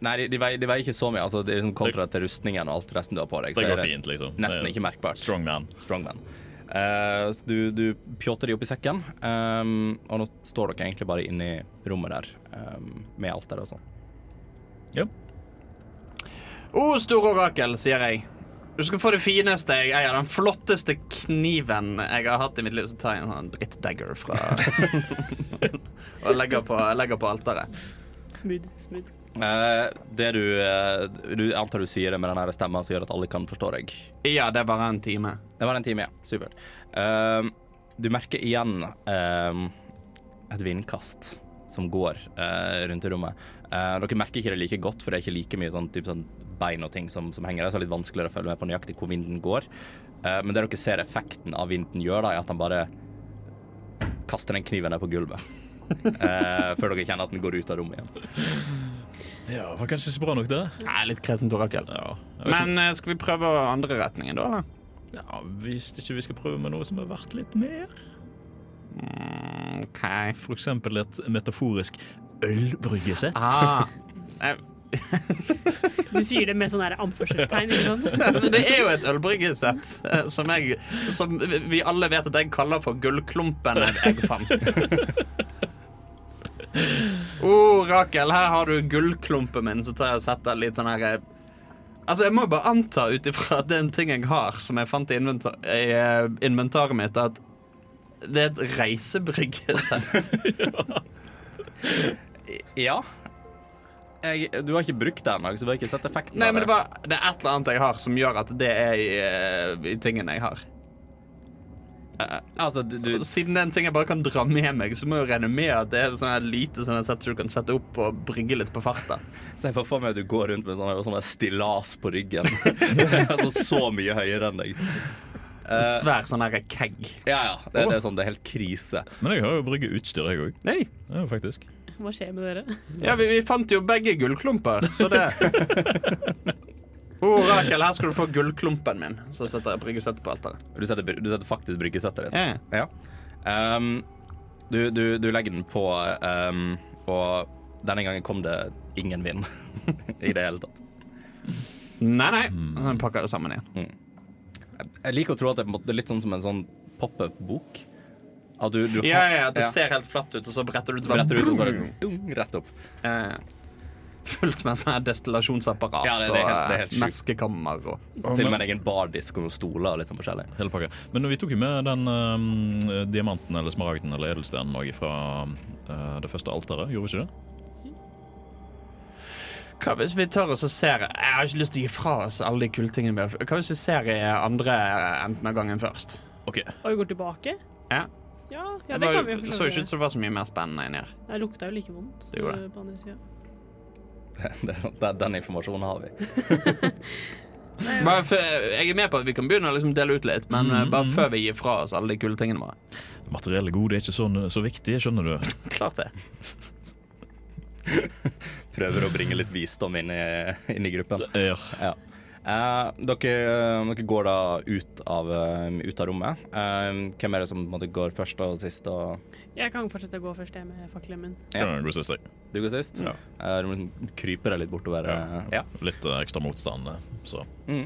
nei, de, de, veier, de veier ikke så mye, altså, det er liksom kontra til rustningen og alt resten du har på deg.
Det
så er
går fint, liksom.
Nesten
Det er
ikke merkbart.
Strong man.
Strongman. Eh, så du, du pjåter de opp i sekken, ehm, og nå står dere egentlig bare inne i rommet der ehm, med alteret og sånn.
Ja.
O store orakel, sier jeg. Du skal få det fineste jeg eier. Den flotteste kniven jeg har hatt i mitt liv. Så tar jeg en sånn drittdagger fra Og legger på, legger på alteret.
Smooth. smooth.
Eh, det du, eh, du Jeg antar du sier det med den her stemmen som gjør at alle kan forstå deg.
Ja, det var en time.
Det var en time, ja. Supert. Ehm, du merker igjen ehm, et vindkast som går eh, rundt i rommet. Eh, dere merker ikke det like godt, for det er ikke like mye sånn, typ sånn bein og ting som, som henger der, så det er litt vanskeligere å følge med på nøyaktig hvor vinden går. Eh, men det dere ser effekten av vinden gjør, da, er at han bare kaster den kniven ned på gulvet. Eh, før dere kjenner at den går ut av rommet igjen.
Ja, var kanskje ikke så bra nok, det.
Nei, litt kresent orakel.
Ja, jeg vet
Men eh, skal vi prøve andre retningen, da? eller?
ikke- ja, Hvis ikke vi skal prøve med noe som er verdt litt mer
Mm, OK.
For eksempel et metaforisk ølbryggesett.
Ah. Eh,
Du sier det med sånn der anførselstegn, ikke sant?
Altså, det er jo et ølbryggesett eh, som, jeg, som vi alle vet at jeg kaller for gullklumpen jeg fant. Å, oh, Rakel, her har du gullklumpen min, så tar jeg og setter litt sånn her eh, Altså, Jeg må bare anta ut ifra at det er en ting jeg har som jeg fant i, inventa i eh, inventaret mitt, at det er et reisebryggesett.
Ja. Jeg, du har ikke brukt det ennå, så du har ikke sett effekten
Nei,
av
men
det.
det, var, det er et eller annet jeg har som gjør at det er i, eh, i tingen jeg har.
Altså, du, du,
Siden det er en ting jeg bare kan dra med meg, så må jeg jo regne med at det er sånn her lite sånn her sett du kan sette opp og brygge litt på farta.
Se for for meg at du går rundt med sånne, sånne stillas på ryggen. altså så mye høyere enn deg.
En
Eh,
svær sånn her kegg.
ja, ja. Det, det er sånn, det er helt krise.
Men jeg har jo bryggeutstyr, jeg òg.
Nei.
Ja, faktisk.
Hva skjer med dere?
Ja, vi, vi fant jo begge gullklumper, så det Å, Rakel, her skal du få gullklumpen min. Så setter jeg bryggesettet på alteret.
Du setter, bry- du setter faktisk bryggesettet ditt.
Ja.
Ja. Ehm, du, du, du legger den på, ehm, og denne gangen kom det ingen vind i det hele tatt.
Nei, nei. Så pakker jeg det sammen igjen.
Jeg liker å tro at det er på en måte litt sånn som en sånn pop-up-bok. At du, du har-
Ja, ja, ja, Det ser helt flatt ut, og så bretter du ut
Du bretter ut og så bare
Boom!
dung, rett opp.
Ja, ja. Fullt med sånn her destillasjonsapparat
Ja, det- det er helt- det er helt
og eh,
sjukt.
meskekammer og
Til og med en egen bardisk og noen stoler og litt sånn forskjellig.
Hele pakka. Men vi tok jo med den eh, diamanten eller smaragden eller edelstenen òg fra eh, det første alteret, gjorde vi ikke det?
Hva hvis vi tør oss å se Jeg har ikke lyst til å gi fra oss alle de kule tingene vi har Hva hvis vi ser i andre enden av gangen først?
OK.
Og vi går tilbake?
Ja.
Ja, ja det kan vi jo
Det så jo ikke ut
forstå.
som det var så mye mer spennende inni her.
Det lukta jo like vondt.
Det gjorde det.
eh, På andre siden.
Det, er sånn- det, den informasjonen har vi.
Bare før- Jeg er med på at vi kan begynne å liksom dele ut litt, men eh, bare før vi gir fra oss alle de kule tingene våre.
Materielle gode er ikke sånn, så viktig, skjønner du.
Klart det.
Prøver å bringe litt visdom inn i, inn i gruppen.
Ja.
Ja. Eh, dere, dere går da ut av, eh, ut av rommet. Eh, hvem er det som på en måte, går først og sist? Og
Jeg kan fortsette å gå først, jeg, med fakkelen min.
Ja.
God søster.
du går sist?
Ja.
Eh, du må krype deg litt bortover. eh, ja.
Litt eh, ekstra motstand, eh, så
Mm.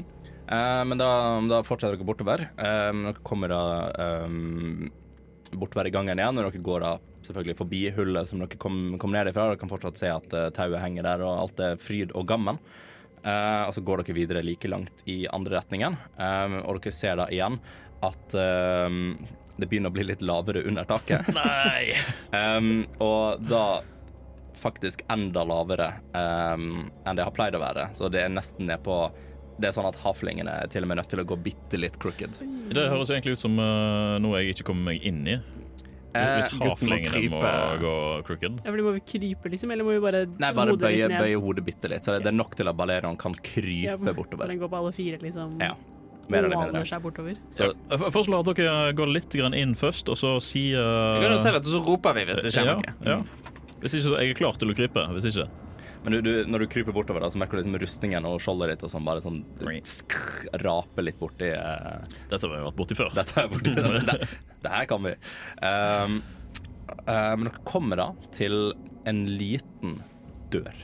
Eh, men da, da fortsetter dere bortover. Eh, dere kommer da eh, bortover i gangen igjen, og dere går da selvfølgelig forbi hullet som dere kom, kom ned ifra. Dere kan fortsatt se at eh, tauet henger der, og alt er fryd og gammen. Eh, og så går dere videre like langt i andre retningen, Eh, og dere ser da igjen at eh, det begynner å bli litt lavere under taket.
Nei!
Um, og da faktisk enda lavere um, enn det har pleid å være. Så det er nesten ned på Det er sånn at havflingene er til og med nødt til å gå bitte litt crooked.
Det høres egentlig ut som eh, noe jeg ikke kommer meg inn i. Hvis,
Eh,
hvis
gutten må
havflingene må,
krype.
gå crooked.
Jeg blir må vi krype, liksom? Eller må vi bare
Nei, bare
hodet
bøye,
litt ned?
bøye hodet bitte litt. Så det, det er nok til at Balerion kan krype
Ja,
bortover.
Den går på alle fire, liksom.
Ja. Mer eller
Ovaler
mindre.
seg bortover.
Så
Eh, F- Først la dere gå litt grann inn først, og så si eh,
Vi kan jo se dette, så roper vi hvis det skjer
ja,
noe.
ja. Hvis ikke, så er jeg klar til å krype. Hvis ikke.
Men du, du, når du kryper bortover, da, så merker du liksom rustningen og skjoldet ditt og sånn bare sånn skrr, rape litt borti eh,
Dette har jeg vært borti før.
Dette er borti dette, det, det her kan vi. Ehm, eh, men dere kommer da til en liten dør.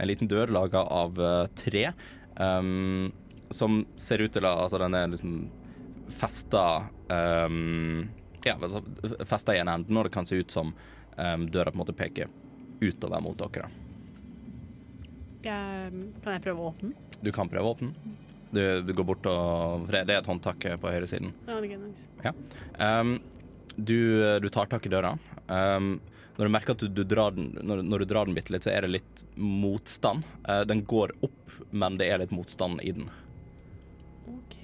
En liten dør laga av eh, tre, ehm, som ser ut til å Altså, den er liksom festa ehm, Ja, altså, festa i en ende når det kan se ut som ehm, døra på en måte peker utover mot dere.
Jeg, kan jeg prøve å åpne den?
Du kan prøve å åpne den. Du, du går bort og Det er et håndtak eh, på høyresiden.
Ja, det er nice.
Ehm, du, du tar tak i døra. Ehm, når du merker at du, du drar den når, når du drar den bitte litt, så er det litt motstand. Eh, den går opp, men det er litt motstand i den.
OK.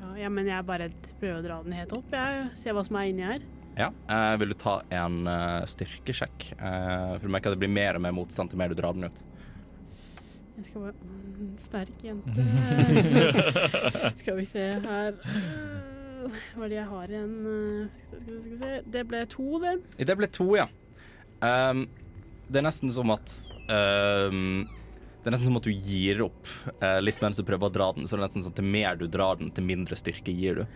Ja, ja, men jeg bare prøver å dra den helt opp. Jeg ser hva som er inni her.
Ja. Eh, vil du ta en eh, styrkesjekk? Eh, for du merker at det blir mer og mer motstand til mer du drar den ut.
Jeg skal bare mm, Sterk jente. skal vi se her Øh, Hva er det jeg har igjen? Øh, Skal vi se, skal vi se, skal vi se. Det ble to, det.
Det ble to, ja. Ehm, det er nesten som at ehm, Det er nesten som at du gir opp eh, litt mens du prøver å dra den. Så det er nesten sånn at til mer du drar den, til mindre styrke gir du.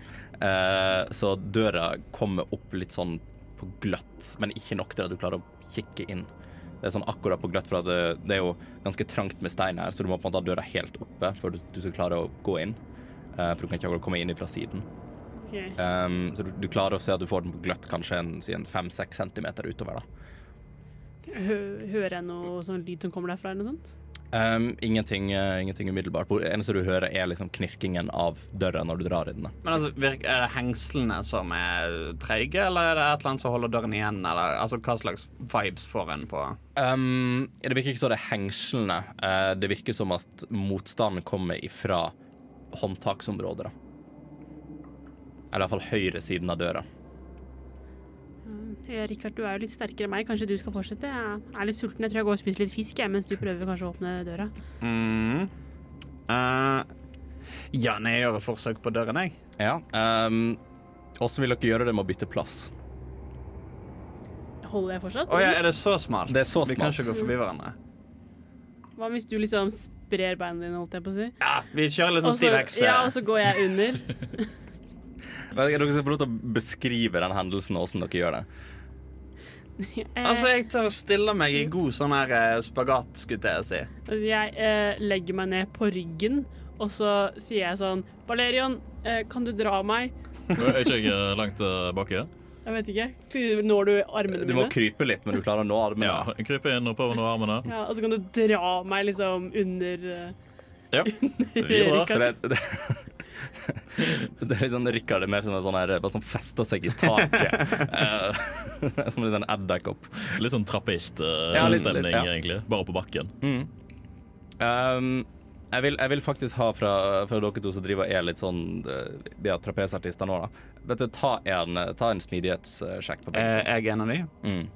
Eh, så døra kommer opp litt sånn på gløtt, men ikke nok til at du klarer å kikke inn. Det er sånn akkurat på gløtt, for at det, det er jo ganske trangt med stein her, så du må på en måte ha døra helt oppe for du, du skal klare å gå inn. Eh, for du kan ikke akkurat komme inn fra siden.
Ok.
Ehm, så du, du klarer å se at du får den på gløtt kanskje en, si en fem-seks centimeter utover. da.
Hø hører jeg noe sånn lyd som kommer derfra, eller noe sånt?
Ehm, ingenting, eh, ingenting umiddelbart. Det eneste du hører, er liksom knirkingen av døra når du drar i den. da.
Men altså, virk- Er det hengslene som er treige, eller er det et eller annet som holder døren igjen? Eller altså, Hva slags vibes får en på
Ehm, det virker ikke så det er hengslene. Eh, det virker som at motstanden kommer ifra håndtaksområdet. da. Eller iallfall høyre siden av døra.
Eh, Rikard, du er jo litt sterkere enn meg. Kanskje du skal fortsette? Jeg er litt sulten. Jeg tror jeg går og spiser litt fisk jeg, mens du prøver kanskje å åpne døra.
mm. Eh, Ja, nei, jeg gjør et forsøk på døren, jeg.
Ja. ehm, Åssen vil dere gjøre det med å bytte plass?
Holder jeg fortsatt?
Å ja, er det så smalt?
Det er så
Vi kan
smalt.
ikke gå forbi hverandre.
Hva hvis du liksom sprer beina dine, holdt jeg på å si?
Ja, Vi kjører litt
Og
sånn stiv
så-
hekse.
Altså, ja, og så går jeg under.
Dere skal få lov til å beskrive den hendelsen og åssen dere gjør det.
Eh,
Altså, jeg tar og stiller meg i god sånn her eh, spagat, skulle jeg si.
jeg eh, legger meg ned på ryggen, og så sier jeg sånn Valerian, eh, kan du dra meg?
Er ikke jeg eh, langt eh, bakke?
Jeg vet ikke. Når du armene
Du må
mine?
krype litt, men du klarer å nå armene.
Ja. Krype inn og prøve å nå armene.
Ja, og så kan du dra meg liksom under eh,
Ja.
Rikard.
For det, det, det er litt sånn Rikard er mer sånn, sånn her, bare sånn fester seg i taket. Eh, som en liten edderkopp.
Litt sånn
Ja, litt-
trappiststemning,
ja.
egentlig. Bare på bakken.
Um, jeg, vil, jeg vil faktisk ha fra, fra dere to som driver og er litt sånn eh, Vi er trapesartister nå, da. Vet du, ta en, ta en smidighetssjekk på begge.
Eh, jeg er en av de.
Mm.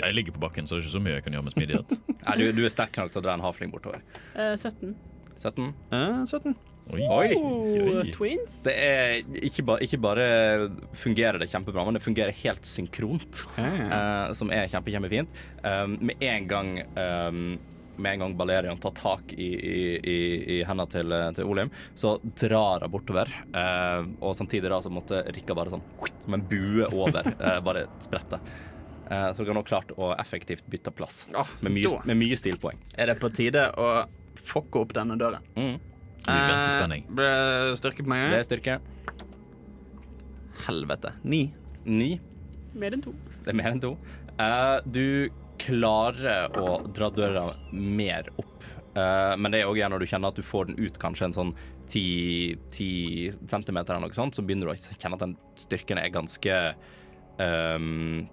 Jeg ligger på bakken, så det er ikke så mye jeg kan gjøre med smidighet.
Nei, du, du er sterk nok til å dra en hafling bortover.
eh, 17.
17?
Eh, 17.
Oi.
Oi.
Oh, twins?
Det er ikke, ba, ikke bare fungerer det kjempebra, men det fungerer helt synkront.
Eh,
eh, som er kjempe, kjempefint. Um, med en gang um, med en gang Balerian tar tak i, i, i, i hendene til, til Olim, så drar hun bortover. eh, og samtidig da så måtte Rikka bare sånn som en bue over, eh, bare sprette. Eh, så dere har nå klart å effektivt bytte plass,
Åh,
med, mye,
da.
med mye stilpoeng.
er det på tide å fucke opp denne døren?
Mm.
Vi venter spenning.
Eh, ble styrke på
Det
meg?
er styrke.
Helvete. Ni.
Ni.
Mer enn to.
Det er mer enn to. Eh, du klarer å dra døra mer opp, Eh, men det er òg gjerne når du kjenner at du får den ut kanskje en sånn 10 10 centimeter eller noe sånt, så begynner du å kjenne at den styrken er ganske ehm,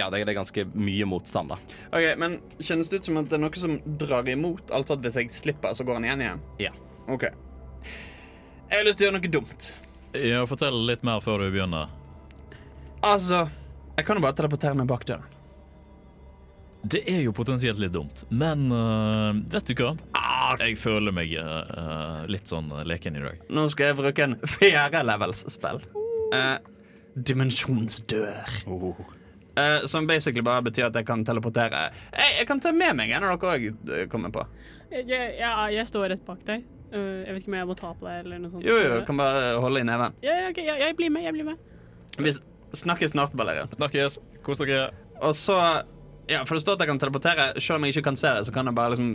Ja, det er, det er ganske mye motstand, da.
Ok, men Kjennes det ut som at det er noe som drar imot? Altså at hvis jeg slipper, så går han igjen igjen?
Ja.
OK. Jeg har lyst til å gjøre noe dumt.
Ja, fortell litt mer før du begynner.
Altså Jeg kan jo bare teleportere meg bak døren.
Det er jo potensielt litt dumt, men øh, vet du hva? Jeg føler meg øh, øh, litt sånn leken i dag.
Nå skal jeg bruke en fjerde levels-spill. Eh, dimensjonsdør. Eh, som basically bare betyr at jeg kan teleportere. Jeg, jeg kan ta med meg en av dere òg, kommer på.
Jeg, jeg, jeg, jeg står rett bak deg. Øh, jeg vet ikke om jeg må ta på deg eller noe sånt.
Jo, jo, kan bare holde i neven.
Ja, ja, ok, ja, jeg blir med, jeg blir med.
Vi s- snakkes snart, Balerian.
Snakkes! Kos dere.
Og så Ja, for det står at jeg kan teleportere. Selv om jeg ikke kan se det, så kan jeg bare liksom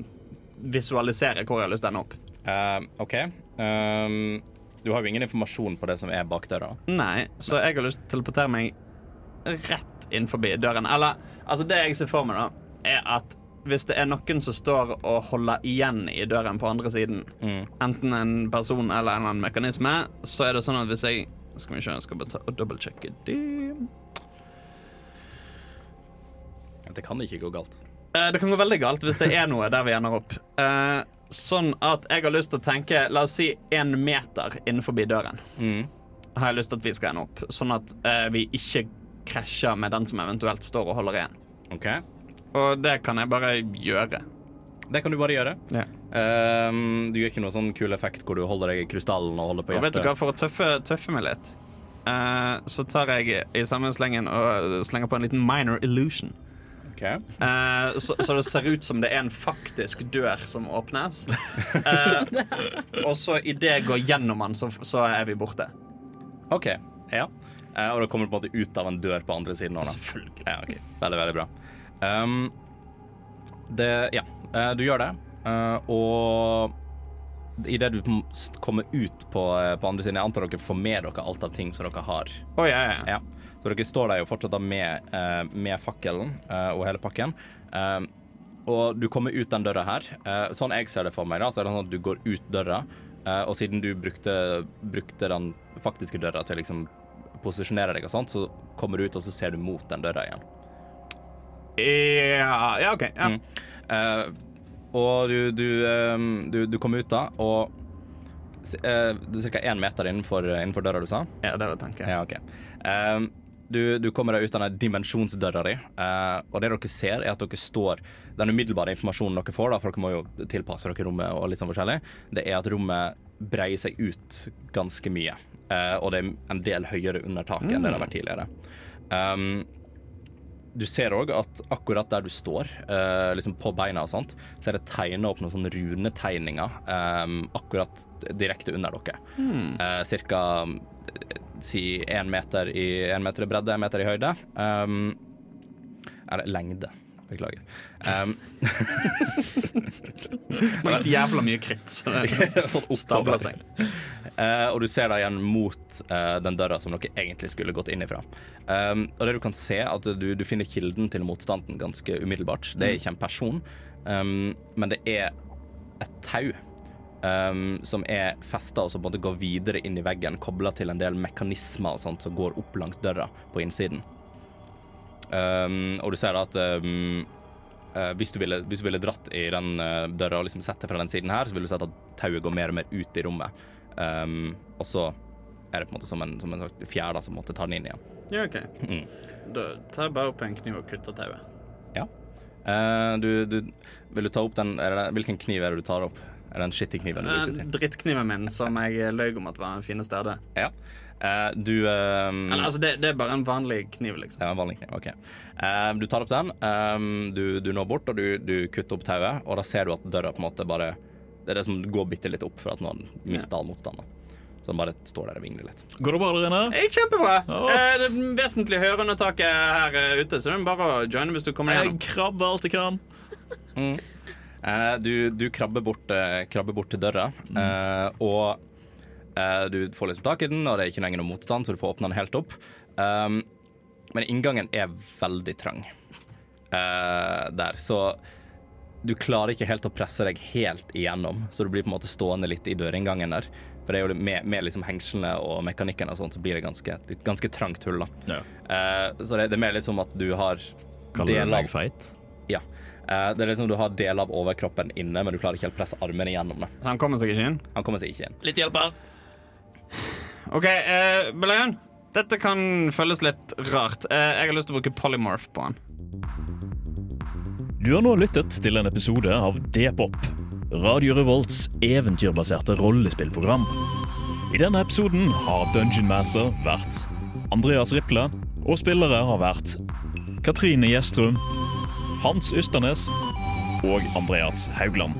visualisere hvor jeg har lyst til å ende opp.
Eh, OK. Eh, Ehm, Du har jo ingen informasjon på det som er bak døra.
Nei, så jeg har lyst til å teleportere meg rett inn forbi døren. Eller, altså det jeg ser for meg da, er at hvis det er noen som står og holder igjen i døren på andre siden,
Mm.
enten en person eller en eller annen mekanisme, så er det sånn at hvis jeg Skal vi se, jeg skal bare ta og dobbeltsjekke det
Det kan ikke gå galt.
Eh, Det kan gå veldig galt hvis det er noe der vi ender opp. Eh, Sånn at jeg har lyst til å tenke, la oss si en meter innenfor døren.
Mm.
har jeg lyst til at vi skal ende opp, sånn at eh, vi ikke krasjer med den som eventuelt står og holder igjen.
OK.
Og det kan jeg bare gjøre.
Det kan du bare gjøre.
Ja.
Ehm, du gjør ikke noe sånn kul effekt hvor du holder deg i krystallen og holder på
Og vet du hva,
hjertet.
for å tøffe, tøffe meg litt, eh, så tar jeg i samme slengen og slenger på en liten minor illusion.
Ok.
Eh, så, så det ser ut som det er en faktisk dør som åpnes. Eh, og så idet jeg går gjennom den, så, så er vi borte.
OK. Ja. Eh, og da kommer du på en måte ut av en dør på andre siden nå, da. Selvfølgelig. Ja, ok. Veldig, veldig bra. Ehm, det Ja. Eh, du gjør det, Eh, og idet du kom- st- kommer ut på, eh, på andre siden Jeg antar dere får med dere alt av ting som dere har.
Å, ja, ja.
Ja. Så dere står der jo fortsatt da med, eh, med fakkelen eh, og hele pakken. Eh, og du kommer ut den døra her. Eh, sånn jeg ser det for meg, da, så er det sånn at du går ut døra, eh, og siden du brukte, brukte den faktiske døra til å liksom posisjonere deg og sånt, så kommer du ut, og så ser du mot den døra igjen.
Ja, ja OK. Ja.
Mm. Eh, og du, du, ehm, du, du kommer ut da, og s- eh, du er ca. én meter innenfor, innenfor døra du sa?
ja, det var tanken.
Ja, ok. Ehm, du, du kommer deg ut av den dimensjonsdøra di, eh, og det dere ser, er at dere står Den umiddelbare informasjonen dere får, da, for dere må jo tilpasse dere rommet og litt sånn forskjellig, det er at rommet breier seg ut ganske mye. Eh, og det er en del høyere under taket enn det det har vært tidligere. Ehm, du ser òg at akkurat der du står, eh, liksom på beina og sånt, så er det tegna opp noen sånne runetegninger eh, akkurat direkte under dere. Eh, cirka eh, si én meter, i- en meter i bredde, én meter i høyde. Um, er det lengde? Beklager. Um,
Det var jævla mye kritt. så det- Stabler seg.
Eh, og du ser da igjen mot eh, den døra som dere egentlig skulle gått inn ifra. Um, og det du kan se, er at du, du finner kilden til motstanden ganske umiddelbart. Det er ikke en person, um, men det er et tau um, som er festa og som på en måte går videre inn i veggen, kobla til en del mekanismer og sånt som går opp langs døra på innsiden. Um, og du ser da at um, eh, hvis, du ville, hvis du ville dratt i den eh, døra og liksom sett det fra den siden her, så ville du sett at tauet går mer og mer ut i rommet. Um, og så er det på en måte som en, som en slags fjær da, som måtte ta den inn igjen.
Ja, OK.
Mm.
Da tar jeg bare opp en kniv og kutter tauet.
Eh, du, du, vil du ta opp den er det, Hvilken kniv er det du tar opp? Er det den skittige kniven du brukte
Eh,
til?
Drittkniven min, som jeg løy om at var den fineste jeg hadde.
Ja. Eh, du um,
Eller, altså, det, det er bare en vanlig kniv, liksom.
Ja, en vanlig kniv, ok. Eh, du tar opp den, ehm, du, du når bort, og du, du kutter opp tauet, og da ser du at døra på en måte bare Det er det som går bitte litt opp for at noen mister all motstand. da. Så den bare står der og vingler litt.
Går det bra der inne?
Eh, Kjempebra!
Åh.
Eh, det er vesentlig høyere under taket her eh, ute, så det er bare å joine hvis du kommer
Jeg
gjennom.
krabber alt jeg kan.
Eh, du, du krabber, bort, eh, krabber bort til døra, eh, og eh, du får liksom tak i den, og det er ikke lenger noe motstand, så du får åpna den helt opp. Um, men inngangen er veldig trang eh, der, så du klarer ikke helt å presse deg helt igjennom, så du blir på en måte stående litt i dørinngangen der. For det er jo med, med liksom hengslene og mekanikken og sånt, så blir det ganske, litt, ganske trangt hull, da.
Ja.
Eh, så det, det er mer litt som at du har
Kaller du
deler av-
meg feit?
ja. Eh, det er liksom Du har deler av overkroppen inne, men du klarer ikke helt å presse armene gjennom det.
Så han kommer seg ikke inn?
Han kommer seg ikke inn.
Litt hjelp her.
OK, eh, Belayan. Dette kan føles litt rart. Eh, jeg har lyst til å bruke polymorph på han.
Du har nå lyttet til en episode av D-pop, Radio Revolts eventyrbaserte rollespillprogram. I denne episoden har Dungeon Master vært Andreas Riple, og spillere har vært Katrine Gjestrum, Hans Ysternes og Andreas Haugland.